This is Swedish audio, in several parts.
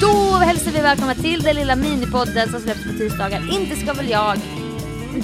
Då hälsar vi välkomna till den lilla minipodden som släpps på tisdagar. Inte ska väl jag.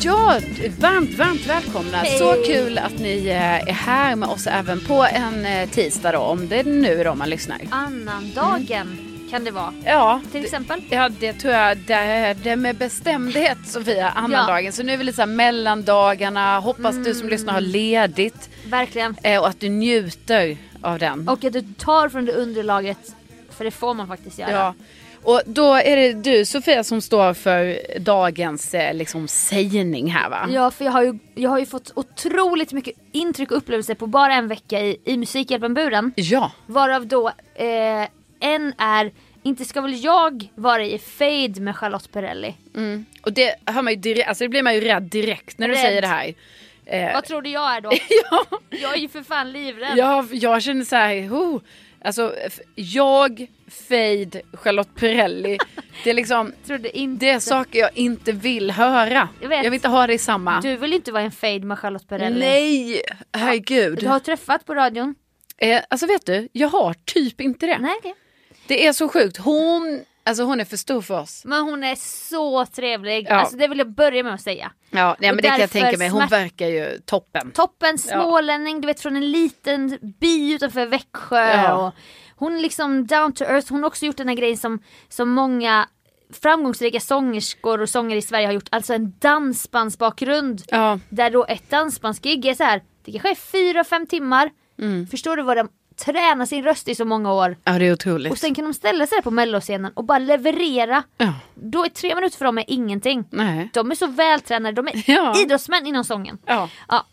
Ja, varmt, varmt välkomna. Hej. Så kul att ni eh, är här med oss även på en eh, tisdag då, om det nu är då man lyssnar. Annandagen Mm. kan det vara. Ja, Till exempel. det, ja, det tror jag det är det med bestämdhet Sofia, annandagen. Så nu är vi lite så här mellandagarna, hoppas du Mm. som lyssnar har ledigt Verkligen. eh, och att du njuter av den. Och att du tar från det underlaget. För det får man faktiskt göra. ja. och då är det du Sofia som står för dagens eh, liksom sägning här va? Ja, för jag har, ju, jag har ju fått otroligt mycket intryck och upplevelser på bara en vecka i, i Musikhjälpen-buren. Ja. Varav då eh, en är Inte ska väl jag vara i fade med Charlotte Perrelli. Och det hör man ju direkt, alltså det blir man ju rädd direkt när du Rädd. säger det här. Vad tror du jag är då? Ja, Jag är ju för fan livrädd. jag, jag känner så här, oh, alltså f- jag, Fade, Charlotte Perrelli. Det är liksom, Trodde inte. det är saker jag inte vill höra. Jag Jag, vet. vill inte ha det i samma. Du vill ju inte vara i en fade med Charlotte Perrelli. Nej, herregud. Du har träffat på radion? Eh, alltså vet du, jag har typ inte det. Nej. okej. Det är så sjukt, hon, alltså hon är för stor för oss. Men hon är så trevlig. Ja. Alltså det vill jag börja med att säga. Ja, nej, Och men det kan jag därför tänka mig, hon smärt- verkar ju toppen. Toppen smålänning, du vet från en liten by utanför Växjö. Ja. Och hon är liksom down to earth. Hon har också gjort den här grejen som, som många framgångsrika sångerskor och sångare i Sverige har gjort. Alltså en dansbandsbakgrund. Ja. Där då ett dansbandsgig är så här, det kanske är fyra, fem timmar. Förstår du vad de tränar sin röst i så många år. ja, det är otroligt. Och sen kan de ställa sig där på melloscenen och bara leverera. ja, Då är tre minuter för dem är ingenting. nej. De är så vältränade, de är Ja. idrottsmän inom sången. Ja. Ja.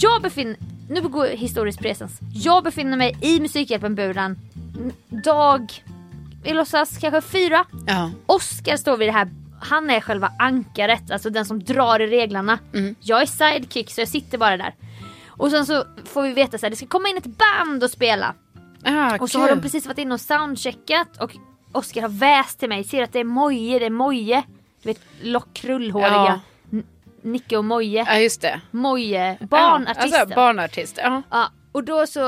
Jag befinner nu går jag historisk presens. Jag befinner mig i Musikhjälpen-buren n- dag, vi låtsas kanske fyra. Ja. Oskar står vid det här, han är själva ankaret, alltså den som drar i reglarna. Mm. Jag är sidekick så jag sitter bara där. Och sen så får vi veta så här, det ska komma in ett band och spela. Ah, Och så har de kul. precis varit inne och soundcheckat och Oskar har väst till mig, ser att det är Moje, det är Moje. Du vet lockrullhåriga Ja. N- Nicke och Moje. Ja just det. Moje, barnartisten. Ja, alltså, barnartist. Ja. ja, och då så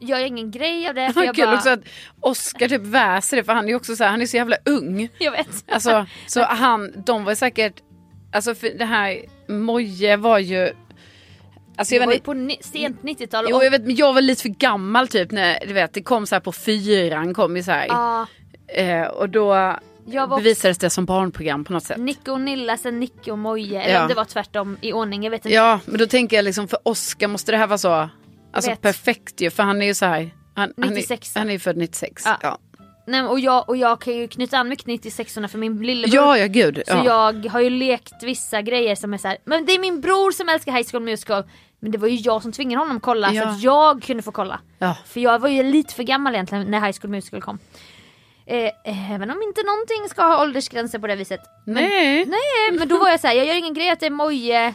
gör jag ingen grej av det för jag Kul bara, också att Oscar typ väser det för han är ju också så här, han är så jävla ung. jag vet. Alltså, så han, de var säkert, alltså för det här Moje var ju, alltså det var jag vet ju inte, på ni- sent 90-tal. jo, jag, vet, men jag var lite för gammal typ när, du vet, det kom så här på fyran kom ju så här. ja, Eh, och då jag var bevisades det som barnprogram på något sätt. Nicke och Nilla, sen Nicke och Moje. Eller Ja. om det var tvärtom i ordning, jag vet inte. Ja, men då tänker jag liksom för Oscar måste det här vara så, alltså Vet. perfekt ju, för han är ju så här, han, han, 96. är, han är ju född 96. Ja. Ja. Nej, men och, jag, och jag kan ju knyta an mycket till 96orna för min lillebror Ja, ja gud. Så ja. jag har ju lekt vissa grejer som är så här, men det är min bror som älskar High School Musical. Men det var ju jag som tvingade honom att kolla så Ja. att jag kunde få kolla. Ja. För jag var ju lite för gammal egentligen när High School Musical kom. Eh, även om inte någonting ska ha åldersgränser på det viset. Nej. Nej, eh, men då var jag så här, jag gör ingen grej att det är Moje.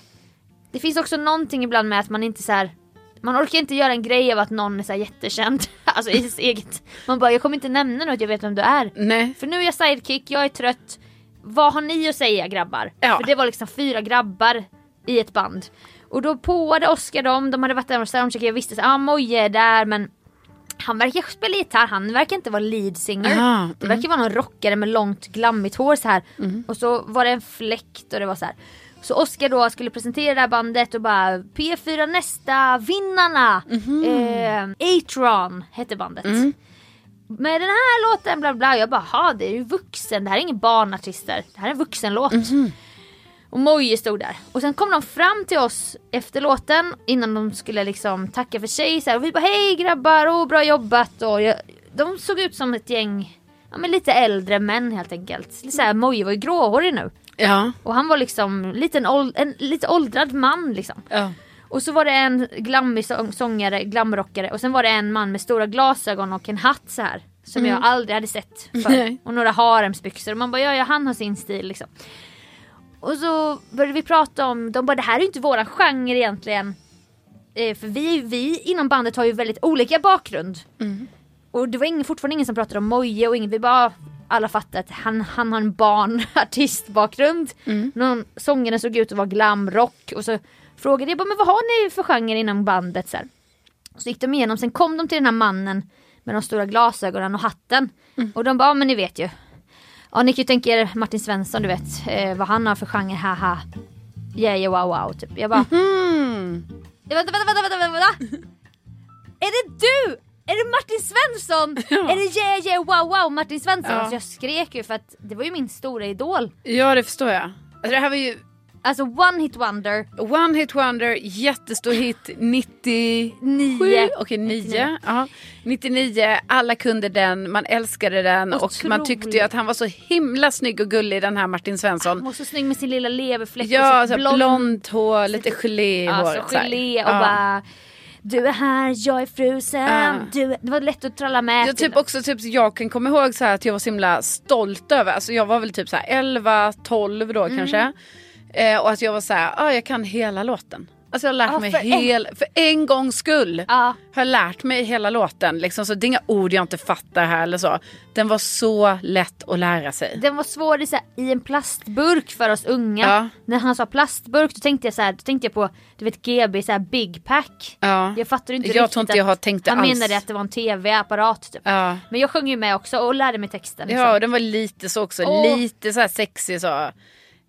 Det finns också någonting ibland med att man inte så här. Man orkar inte göra en grej av att någon är så här jättekänd. Alltså i sitt eget. Man bara, jag kommer inte nämna något, jag vet vem du är. Nej. För nu är jag sidekick, jag är trött. Vad har ni att säga grabbar? Ja. För det var liksom fyra grabbar i ett band. Och då påade Oskar dem, de hade varit där och soundcheckat, jag visste så här, ah, Moje är där men han verkar spela gitarr, han verkar inte vara lead singer. Ah, Det verkar vara någon rockare med långt glammigt hår så här. Och så var det en fläkt och det var så här. Så Oskar då skulle presentera det här bandet och bara P4 nästa, vinnarna! Eh, Atron hette bandet med den här låten bla bla. Jag bara, ha det är ju vuxen, det här är ingen barnartister. Det här är en vuxenlåt. Och Moje stod där. Och sen kom de fram till oss efter låten innan de skulle liksom tacka för sig. Så här. Och vi bara, hej grabbar, oh, bra jobbat. Och jag, de såg ut som ett gäng, ja men lite äldre män helt enkelt. Så här, Moje var ju gråhårig nu. Ja. Och han var liksom liten åld- en lite åldrad man liksom. Ja. Och så var det en glammig sång- sångare, glamrockare och sen var det en man med stora glasögon och en hatt så här. Som jag aldrig hade sett förr. Och några haremsbyxor. Och man bara, ja, ja han har sin stil liksom. Och så började vi prata om, de bara det här är ju inte våran genre egentligen. Eh, för vi, vi inom bandet har ju väldigt olika bakgrund. Och det var ingen, fortfarande ingen som pratade om Moje och ingen, vi bara ah, alla fattade att han, han har en barnartistbakgrund. Någon, sångaren såg ut att vara glamrock och så frågade jag bara men vad har ni för genre inom bandet? Så, här. så gick de igenom, sen kom de till den här mannen med de stora glasögonen och hatten. Och de bara ah, men ni vet ju. Ja ni kan ju tänka er Martin Svensson du vet eh, vad han har för genre haha. Yeah yeah wow wow typ. Jag bara Ja, Vänta, vänta, vänta, vänta, vänta, vänta. Är det du? Är det Martin Svensson? Är det yeah yeah wow wow Martin Svensson? Ja. Alltså jag skrek ju för att det var ju min stora idol. ja, det förstår jag. Alltså, det här var ju Alltså one hit wonder. One Hit Wonder, jättestor hit, 99, Nio. okej 9, ja. 99, alla kunde den, man älskade den och man tyckte ju Otroligt. att han var så himla snygg och gullig den här Martin Han Svensson. var så snygg med sin lilla leverfläck Ja, och så sitt blont, blond, blont hår, lite geléhår. alltså, så här. gelé och Ja. bara du är här, jag är frusen, Ja. du är... Det var lätt att tralla med. Jag, till typ också, typ, jag kan komma ihåg så här att jag var så himla stolt över, alltså jag var väl typ så här 11, 12 då Mm. kanske. Eh, och att jag var så här, ah, jag kan hela låten. Alltså jag har lärt Ja, mig Ah, för för en- Ah. hel, för en gångs skull Ja. har jag lärt mig hela låten. Liksom, så det är inga ord jag inte fattar här eller så. Den var så lätt att lära sig. Den var svår i, så här, i en plastburk för oss unga. Ja. När han sa plastburk då tänkte jag så här, då tänkte jag på du vet GB så här big pack. Ja. Jag fattar inte Jag riktigt tror inte jag har att- tänkt det Han alls. menade att det var en tv-apparat typ. Ja. Men jag sjöng ju med också och lärde mig texten. liksom. Ja, och den var lite så också, Åh. lite så här sexig så.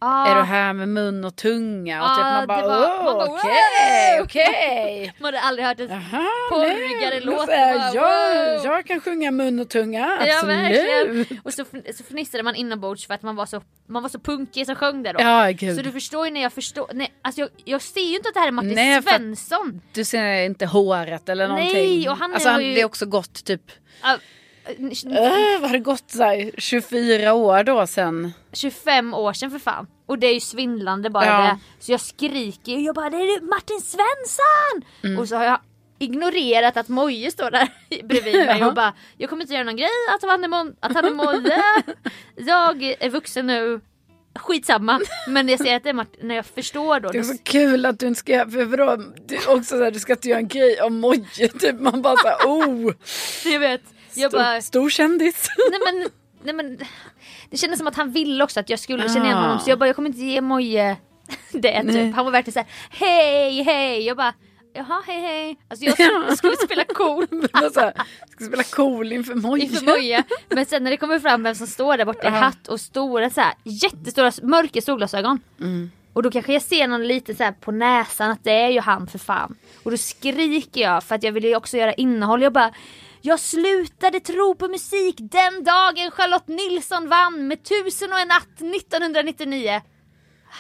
Ah. Är du här med mun och tunga? Och typ Ja, man bara, det var- man "Åh, bara, okej, wow." okej. Man hade aldrig hört en Aha, porrigare nej, låt. så här, Bara, Alltså, jag, wow. jag kan sjunga mun och tunga, Ja, absolut. verkligen. och så, fn- så fnissade man inombords för att man var så, man var så punkig som sjöng där då. Ja, gud. så du förstår ju när jag förstår, nej, alltså jag, jag ser ju inte att det här är Martin Nej, jag fatt- Svensson. Du ser inte håret eller någonting. Nej, och han alltså, har han, ju- det är också gott typ. Ah, Äh, var det gått så här, 24 år då sen? 25 år sedan för fan. Och det är ju svindlande bara Ja. det. Så jag skriker ju, jag bara det är du, Martin Svensson! Mm. Och så har jag ignorerat att Moje står där bredvid mig och bara jag kommer inte göra någon grej att han är, Mo- att han är Moje. jag är vuxen nu. Skitsamma. Men jag ser att det är Martin, när jag förstår då. Det är så Alltså, kul att du inte ska göra, för vadå, du, också så här, du ska inte göra en grej om Moje, typ man bara såhär oh, Jag vet. Jag bara, stor, stor kändis. nej men, nej men. Det kändes som att han ville också att jag skulle känna igen Ah. honom så jag bara jag kommer inte ge Moje det typ. Han var verkligen såhär hej hej. Jag bara jaha hej hej. Alltså jag skulle, jag skulle spela cool. Man så här, ska spela cool inför Moje. Inför Moje. Men sen när det kommer fram vem som står där borta i hatt och stora så här, jättestora mörka solglasögon. Mm. Och då kanske jag ser någon lite så här på näsan att det är ju han för fan. Och då skriker jag för att jag vill ju också göra innehåll. Jag bara jag slutade tro på musik den dagen Charlotte Nilsson vann med Tusen och en natt 1999.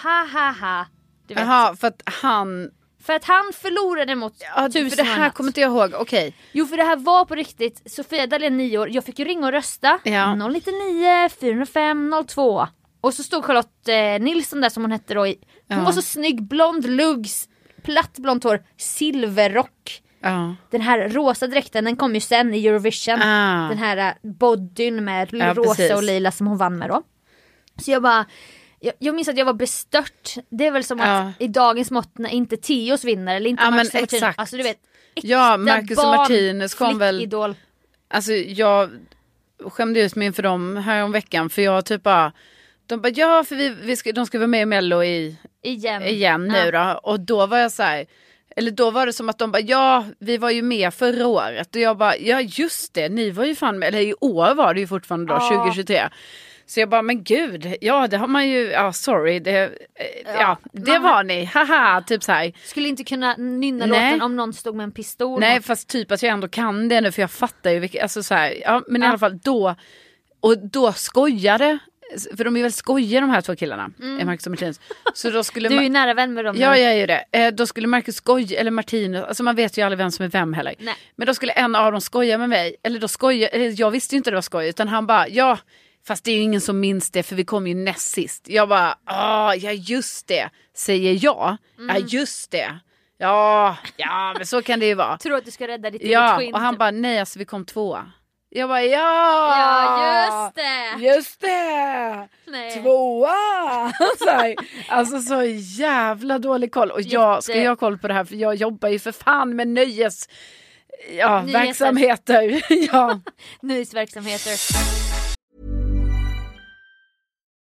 Ha ha ha. Du vet. Jaha, för att han, För att han förlorade mot ja, Tusen för det och en här natt. kommer inte jag ihåg, okej. Jo för det här var på riktigt, Sofia Dalén 9 år, jag fick ju ringa och rösta. Ja. 099 405 02. Och så stod Charlotte eh, Nilsson där som hon hette då. i- Hon Ja. var så snygg, blond luggs, platt blont hår, silverrock. Ja. Den här rosa dräkten den kom ju sen i Eurovision. Ah. Den här eh, bodyn med Ja, rosa precis. och lila som hon vann med då. Så jag bara, jag, jag minns att jag var bestört. Det är väl som Ja. att i dagens mått när inte Tios vinner eller inte Ja, men Marcus och Martinus. exakt. Alltså du vet, äkta Ja, Marcus och barn, Martinus kom väl- flickidol. Alltså jag skämde ut mig inför dem här om veckan för jag typ bara, de bara ja för vi, vi ska, de ska vara med i mello i, Igen. igen nu då och då var jag så här, eller då var det som att de bara ja vi var ju med förra året och jag bara ja just det ni var ju fan med, eller i år var det ju fortfarande då 2023. Så jag bara men gud, ja det har man ju, ja sorry, det, eh, ja, det var ni, haha, typ så här. Skulle inte kunna nynna Nej. låten om någon stod med en pistol. Nej fast typ att jag ändå kan det nu för jag fattar ju vilka, alltså så här, ja men i alla fall då, och då skojade, för de är väl skojiga de här två killarna, mm. Marcus och Martinus. Så då skulle du är ju Ma- nära vän med dem. Ja nu. jag är ju det. Eh, då skulle Marcus skoja, eller Martinus, alltså man vet ju aldrig vem som är vem heller. Nej. Men då skulle en av dem skoja med mig, eller då skoja, eller jag visste ju inte det var skoj utan han bara ja, fast det är ju ingen som minns det för vi kom ju näst sist. Jag bara ah, ja just det, säger jag. Mm. Ja just det. Ja, ja men så kan det ju vara. Tror att du ska rädda ditt eget Ja, skinn. och han typ. bara nej alltså vi kom tvåa. Jag bara ja! Ja just det! Just det! Nej. Tvåa! Så här, alltså så jävla dålig koll. Och jag, ska Jätte- jag ha koll på det här för jag jobbar ju för fan med nöjes... Ja, Nyheter. verksamheter. ja. Nyhetsverksamheter.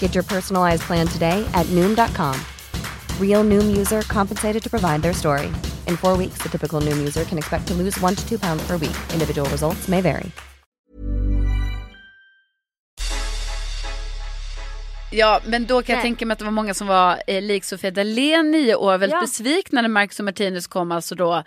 Get your personalized plan today at Noom.com. Real Noom user compensated to provide their story. In four weeks, the typical Noom user can expect to lose one to two pounds per week. Individual results may vary. ja, men då kan jag Nej. tänka mig att det var många som var eh, lik Sofia Dalén nio år väldigt Ja. besvikna när Marcus och Martinus kom alltså då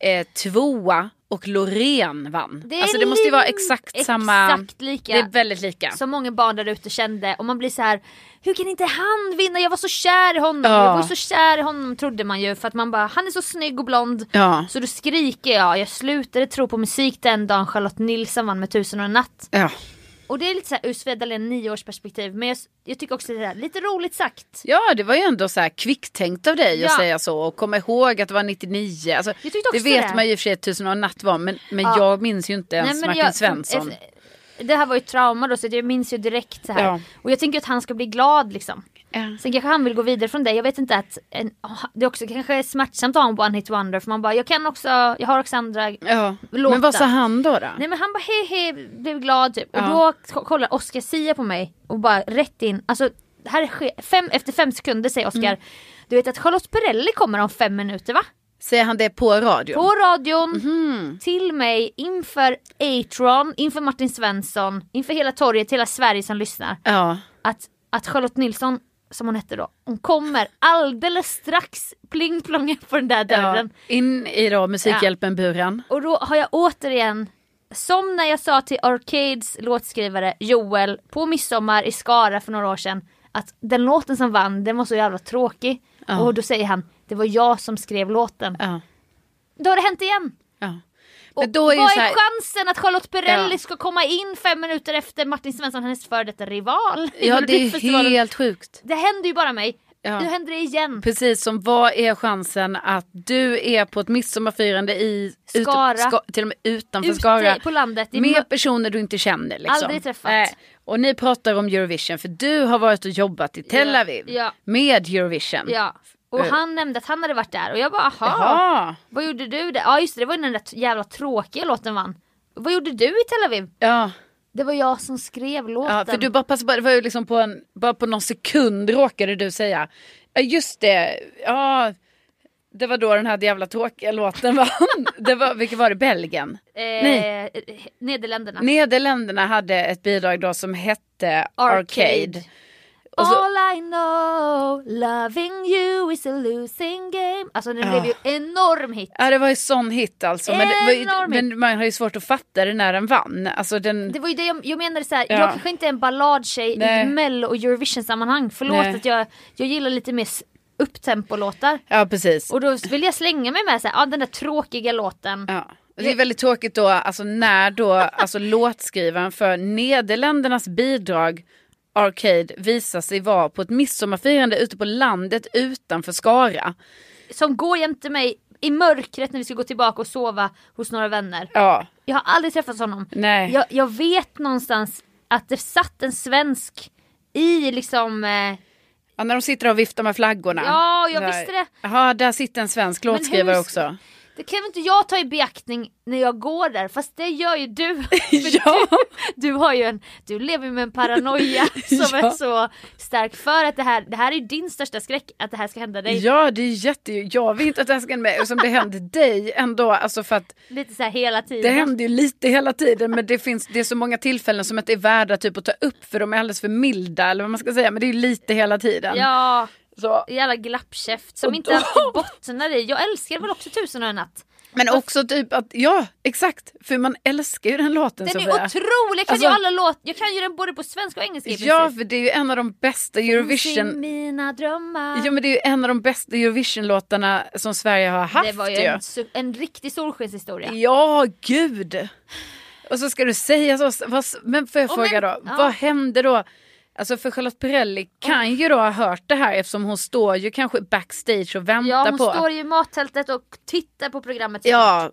eh, tvåa och Loreen vann. är alltså det måste ju vara li- exakt samma. Exakt lika. Det är väldigt lika. Som många barn där ute kände och man blir så här. hur kan inte han vinna? Jag var så kär i honom. Ja. Jag var så kär i honom trodde man ju för att man bara, han är så snygg och blond. Ja. Så då skriker jag, jag slutade tro på musik den dagen Charlotte Nilsson vann med Tusen och en natt. Ja. Och det är lite så här ur Sofia Dalén nioårsperspektiv men jag, jag tycker också det är lite roligt sagt. Ja, det var ju ändå så här kvicktänkt av dig att Ja. säga så och komma ihåg att det var 99. Alltså, Jag tyckte det också vet det. man ju i och för sig att Tusen och en natt var, men, men jag minns ju inte ens men Martin jag- eh, Svensson. Det här var ju ett trauma då så jag minns ju direkt så här. Ja. Och jag tänker att han ska bli glad liksom. Ja. Sen kanske han vill gå vidare från det. Jag vet inte att en, ah, det är också kanske är smärtsamt att ha en one hit wonder för man bara jag kan också, jag har också andra. Ja. Låta. Men vad sa han då? då? Nej men han bara hej hej blev glad typ. Ja. Och då k- kollar Oscar Sia på mig och bara rätt in. Alltså här sker, fem, efter fem sekunder säger Oscar Mm. Du vet att Charlotte Perrelli kommer om fem minuter va? Säger han det på radio? På radion, till mig, inför Atron, inför Martin Svensson, inför hela torget, hela Sverige som lyssnar. Ja. Att, att Charlotte Nilsson som hon hette då, hon kommer alldeles strax pling plonga på den där dörren. In i då Musikhjälpen-buren. Och då har jag återigen, som när jag sa till Arcades låtskrivare Joel på midsommar i Skara för några år sedan, att den låten som vann, den var så jävla tråkig. Ja. Och då säger han, det var jag som skrev låten. Då har det hänt igen. Och Men då är ju vad är så här- chansen att Charlotte Perrelli Ja. ska komma in fem minuter efter Martin Svensson, hennes före detta rival? i Ja, det är Melodifestivalen? helt sjukt. Det händer ju bara mig. Ja. Nu händer det igen. Precis som vad är chansen att du är på ett midsommarfirande i ut- Skara. Ska- till och med utanför Ute Skara. på landet. Det är mö- Med personer du inte känner. Liksom. Aldrig träffat. Nej. Och ni pratar om Eurovision för du har varit och jobbat i Tel Ja. Aviv Ja. med Eurovision. Ja. Och Eh. han nämnde att han hade varit där och jag bara aha. Jaha. Vad gjorde du där? Ja just det, det var ju den där t- jävla tråkiga låten vann. Vad gjorde du i Tel Aviv? Ja. Det var jag som skrev låten. Ja, för du bara passade på, det var ju liksom på, en, bara på någon sekund råkade du säga, ja just det, ja det var då den här jävla tråkiga låten vann. det var, vilket var det, Belgien? eh, Nej. eh, Nederländerna. Nederländerna hade ett bidrag då som hette Arcade. Arcade. Och så- All I know, loving you is a losing game. Alltså den Ja. blev ju enorm hit. Ja det var ju sån hit alltså. Men, det var ju, Enorm men man har ju svårt att fatta det när den vann. Alltså den, Det var ju det jag, jag menade så här, Ja. jag kanske inte är en balladtjej i Nej. mello och Eurovision sammanhang. Förlåt Nej. att jag, jag gillar lite mer s- upptempo-låtar. ja precis. Och då vill jag slänga mig med så här, ah, den där tråkiga låten. Ja. Och Det är väldigt tråkigt då, alltså när då alltså låtskrivaren för Nederländernas bidrag Arcade visar sig vara på ett midsommarfirande ute på landet utanför Skara. Som går jämte mig i mörkret när vi ska gå tillbaka och sova hos några vänner. Ja, Jag har aldrig träffat honom. nej. Jag, jag vet någonstans att det satt en svensk i liksom... Eh, Ja, när de sitter och viftar med flaggorna. Ja, jag Så här. visste det. Jaha, där sitter en svensk Men låtskrivare hur- också. det kan väl inte jag ta i beaktning när jag går där, fast det gör ju du. För Ja. du, du har ju en, du lever ju med en paranoia som är Ja. så stark för att det här, det här är ju din största skräck, att det här ska hända dig. Ja, det är jätte... Jag vill inte att det här ska hända mig. Och som det hände dig ändå, alltså för att Lite så här hela tiden. Det händer ju lite hela tiden men det finns det är så många tillfällen som inte är värda typ att ta upp för de är alldeles för milda eller vad man ska säga men det är ju lite hela tiden. Ja, Så. jävla glappkäft som Och inte då- alltid bottnar i. Jag älskar väl också tusen och en natt. Men också typ att, ja exakt, för man älskar ju den låten Den är Sofia. otrolig, jag kan Alltså- ju alla låt, jag kan ju den både på svenska och engelska i Ja princip. för det är ju en av de bästa Sing Eurovision mina drömmar. Ja men det är ju en av de bästa Eurovision-låtarna som Sverige har haft det var ju en, su- en riktig solskenshistoria. Ja, gud. Och så ska du säga så. s- Vad, s- men får jag Och fråga men- då, ja. vad hände då? Alltså för Charlotte Perrelli kan ju då ha hört det här eftersom hon står ju kanske backstage och väntar Ja, hon på. står ju i mattältet och tittar på programmet. Ja,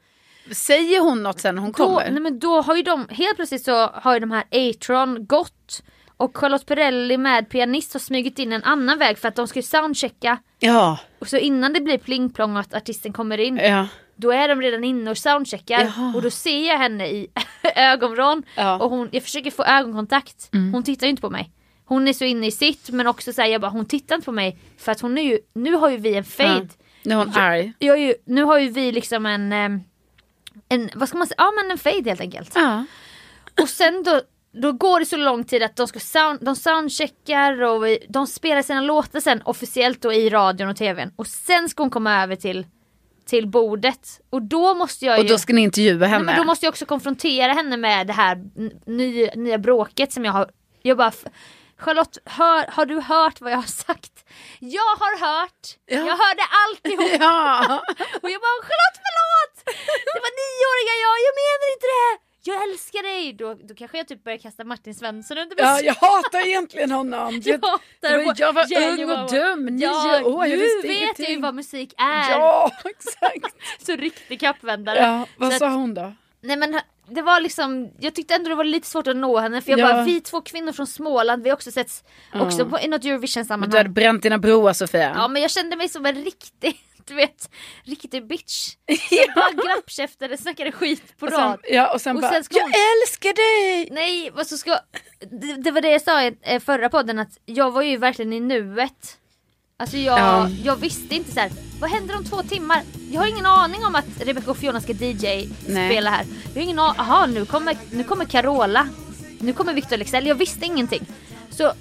säger hon något sen när hon då, kommer? nej, men då har ju de, helt plötsligt så har ju de här Atron gått och Charlotte Perrelli med pianist har smugit in en annan väg för att de ska ju soundchecka. Ja, Och så innan det blir pling plong och att artisten kommer in, ja. då är de redan inne och soundcheckar Eh. Jaha. och då ser jag henne i ögonvrån Ja. Mm. och hon, jag försöker få ögonkontakt. Hon tittar ju inte på mig. Hon är så inne i sitt men också säger jag bara hon tittar inte på mig för att hon är ju, nu har ju vi en fade. Ja. Nu är hon arg. Jag är ju, nu har ju vi liksom en, eh, en, vad ska man säga, ja men en fade helt enkelt. Ja. Och sen då, då går det så lång tid att de ska sound, de soundcheckar och vi- de spelar sina låtar sen officiellt då i radion och tvn. Och sen ska hon komma över till, till bordet. Och då måste jag Och ju... då ska ni intervjua Nej, henne? men då måste jag också konfrontera henne med det här n- ny, nya bråket som jag har. Jag bara, "F- Charlotte, hör, har du hört vad jag har sagt? Jag har hört, jag hörde alltihop. Ja, Och jag bara, Charlotte förlåt! Det var nioåriga jag, jag menar inte det! Jag älskar dig! Då, då kanske jag typ börjar kasta Martin Svensson under bussen. ja, jag hatar egentligen honom. Jag hatar Men jag var Jenny ung och Wawa. dum, nio ja, år, jag Nu visste vet jag ju ingenting. vad musik är. Ja, exakt. Så riktig kappvändare. Ja, Så vad att- sa hon då? Nej men det var liksom, jag tyckte ändå det var lite svårt att nå henne för jag Ja. bara, vi två kvinnor från Småland, vi har också setts också Ja. på, i något Men du hade Eurovision-sammanhang. bränt dina broar Sofia. Ja men jag kände mig som en riktig, du vet, riktig bitch. Jag bara glappkäftade, snackade skit på och sen, rad. ja, och sen Och bara, sen ska jag hon- älskar dig! Nej, vad så ska, det, det var det jag sa i eh, förra podden att jag var ju verkligen i nuet. Alltså jag, Ja. jag visste inte så här. vad händer om två timmar? Jag har ingen aning om att Rebecca och Fiona ska DJ-spela här. Jag har ingen aning, aha nu kommer, nu kommer Carola, nu kommer Victor Leksell, jag visste ingenting. Så eh,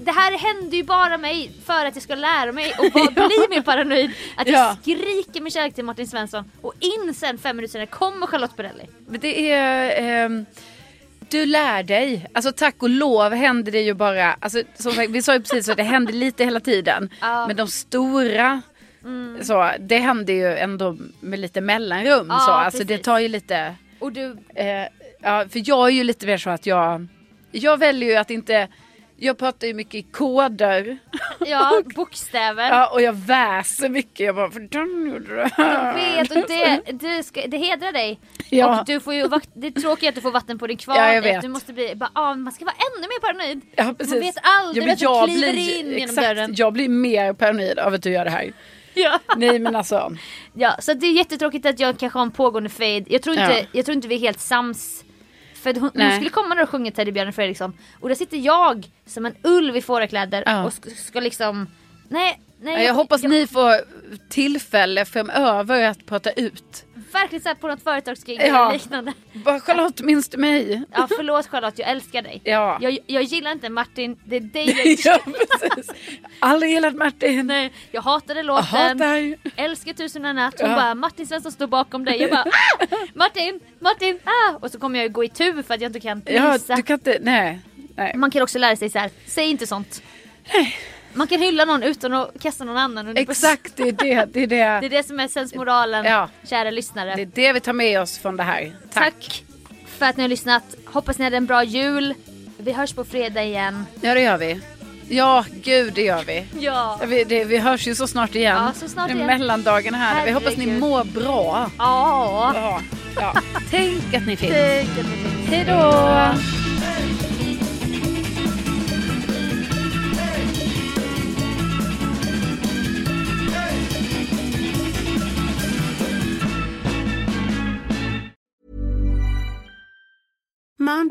det här hände ju bara mig för att jag ska lära mig och bara bli mer paranoid. Att jag Ja. skriker min kärlek till Martin Svensson och in sen fem minuter senare kommer Charlotte Perrelli. Men det är... ehm, du lär dig. Alltså tack och lov händer det ju bara. Alltså, som sagt, vi sa ju precis att det händer lite hela tiden. Ja. Mm. Men de stora, så, det händer ju ändå med lite mellanrum. Ja, så. Alltså, det precis. tar ju lite... Och du, Eh, ja, för jag är ju lite mer så att jag... Jag väljer ju att inte... Jag pratar ju mycket i koder. ja, bokstäver. Ja, och jag väser mycket. Jag bara, för den gjorde det Jag vet och det, det, ska, det hedrar dig. Ja. Och du får ju, vak- det är tråkigt att du får vatten på din kvarn. Ja, jag vet. Du måste bli, bara, ah, man ska vara ännu mer paranoid. Ja, precis. Man vet aldrig men att du kliver in genom dörren. Jag blir mer paranoid av att du gör det här. Ja. Nej men alltså. Ja, så det är jättetråkigt att jag kanske har en pågående fade. Jag tror inte, Ja. jag tror inte vi är helt sams. För hon, hon Nej. skulle komma där och sjunga Teddybjörnen Fredriksson och där sitter jag som en ulv i fårakläder Ja. och ska, ska liksom, nej, nej. Jag hoppas ni får tillfälle framöver att prata ut. Verkligen såhär på något företagskrig Ja. eller liknande. Bara Charlotte, minns du mig? Ja förlåt Charlotte, jag älskar dig. Ja. Jag, jag gillar inte Martin, det är dig jag ja precis. Aldrig gillat Martin. Nej, jag hatade Jag låten. hatar. Älskar tusen och en natt. Hon Ja. bara Martin Svensson står bakom dig. Jag bara ah! Martin, Martin, ah! Och så kommer jag gå i tur för att jag inte kan Ja, visa. du kan inte, nej. nej. Man kan också lära sig så här, säg inte sånt. Man kan hylla någon utan att kasta någon annan under bussen. Exakt, det är det. Det Det är är det. det som är sensmoralen, Ja. kära lyssnare. Det är det vi tar med oss från det här. Tack. Tack för att ni har lyssnat. Hoppas ni hade en bra jul. Vi hörs på fredag igen. Ja, det gör vi. Ja, gud, det gör vi. Ja. Ja, Vi, det, vi hörs ju så snart igen. Ja, så snart Det är igen. Mellandagarna här. Vi hoppas ni Herregud. mår bra. Ja. Ja, ja. Tänk att ni finns. Tänk att ni finns. Hej då! Mom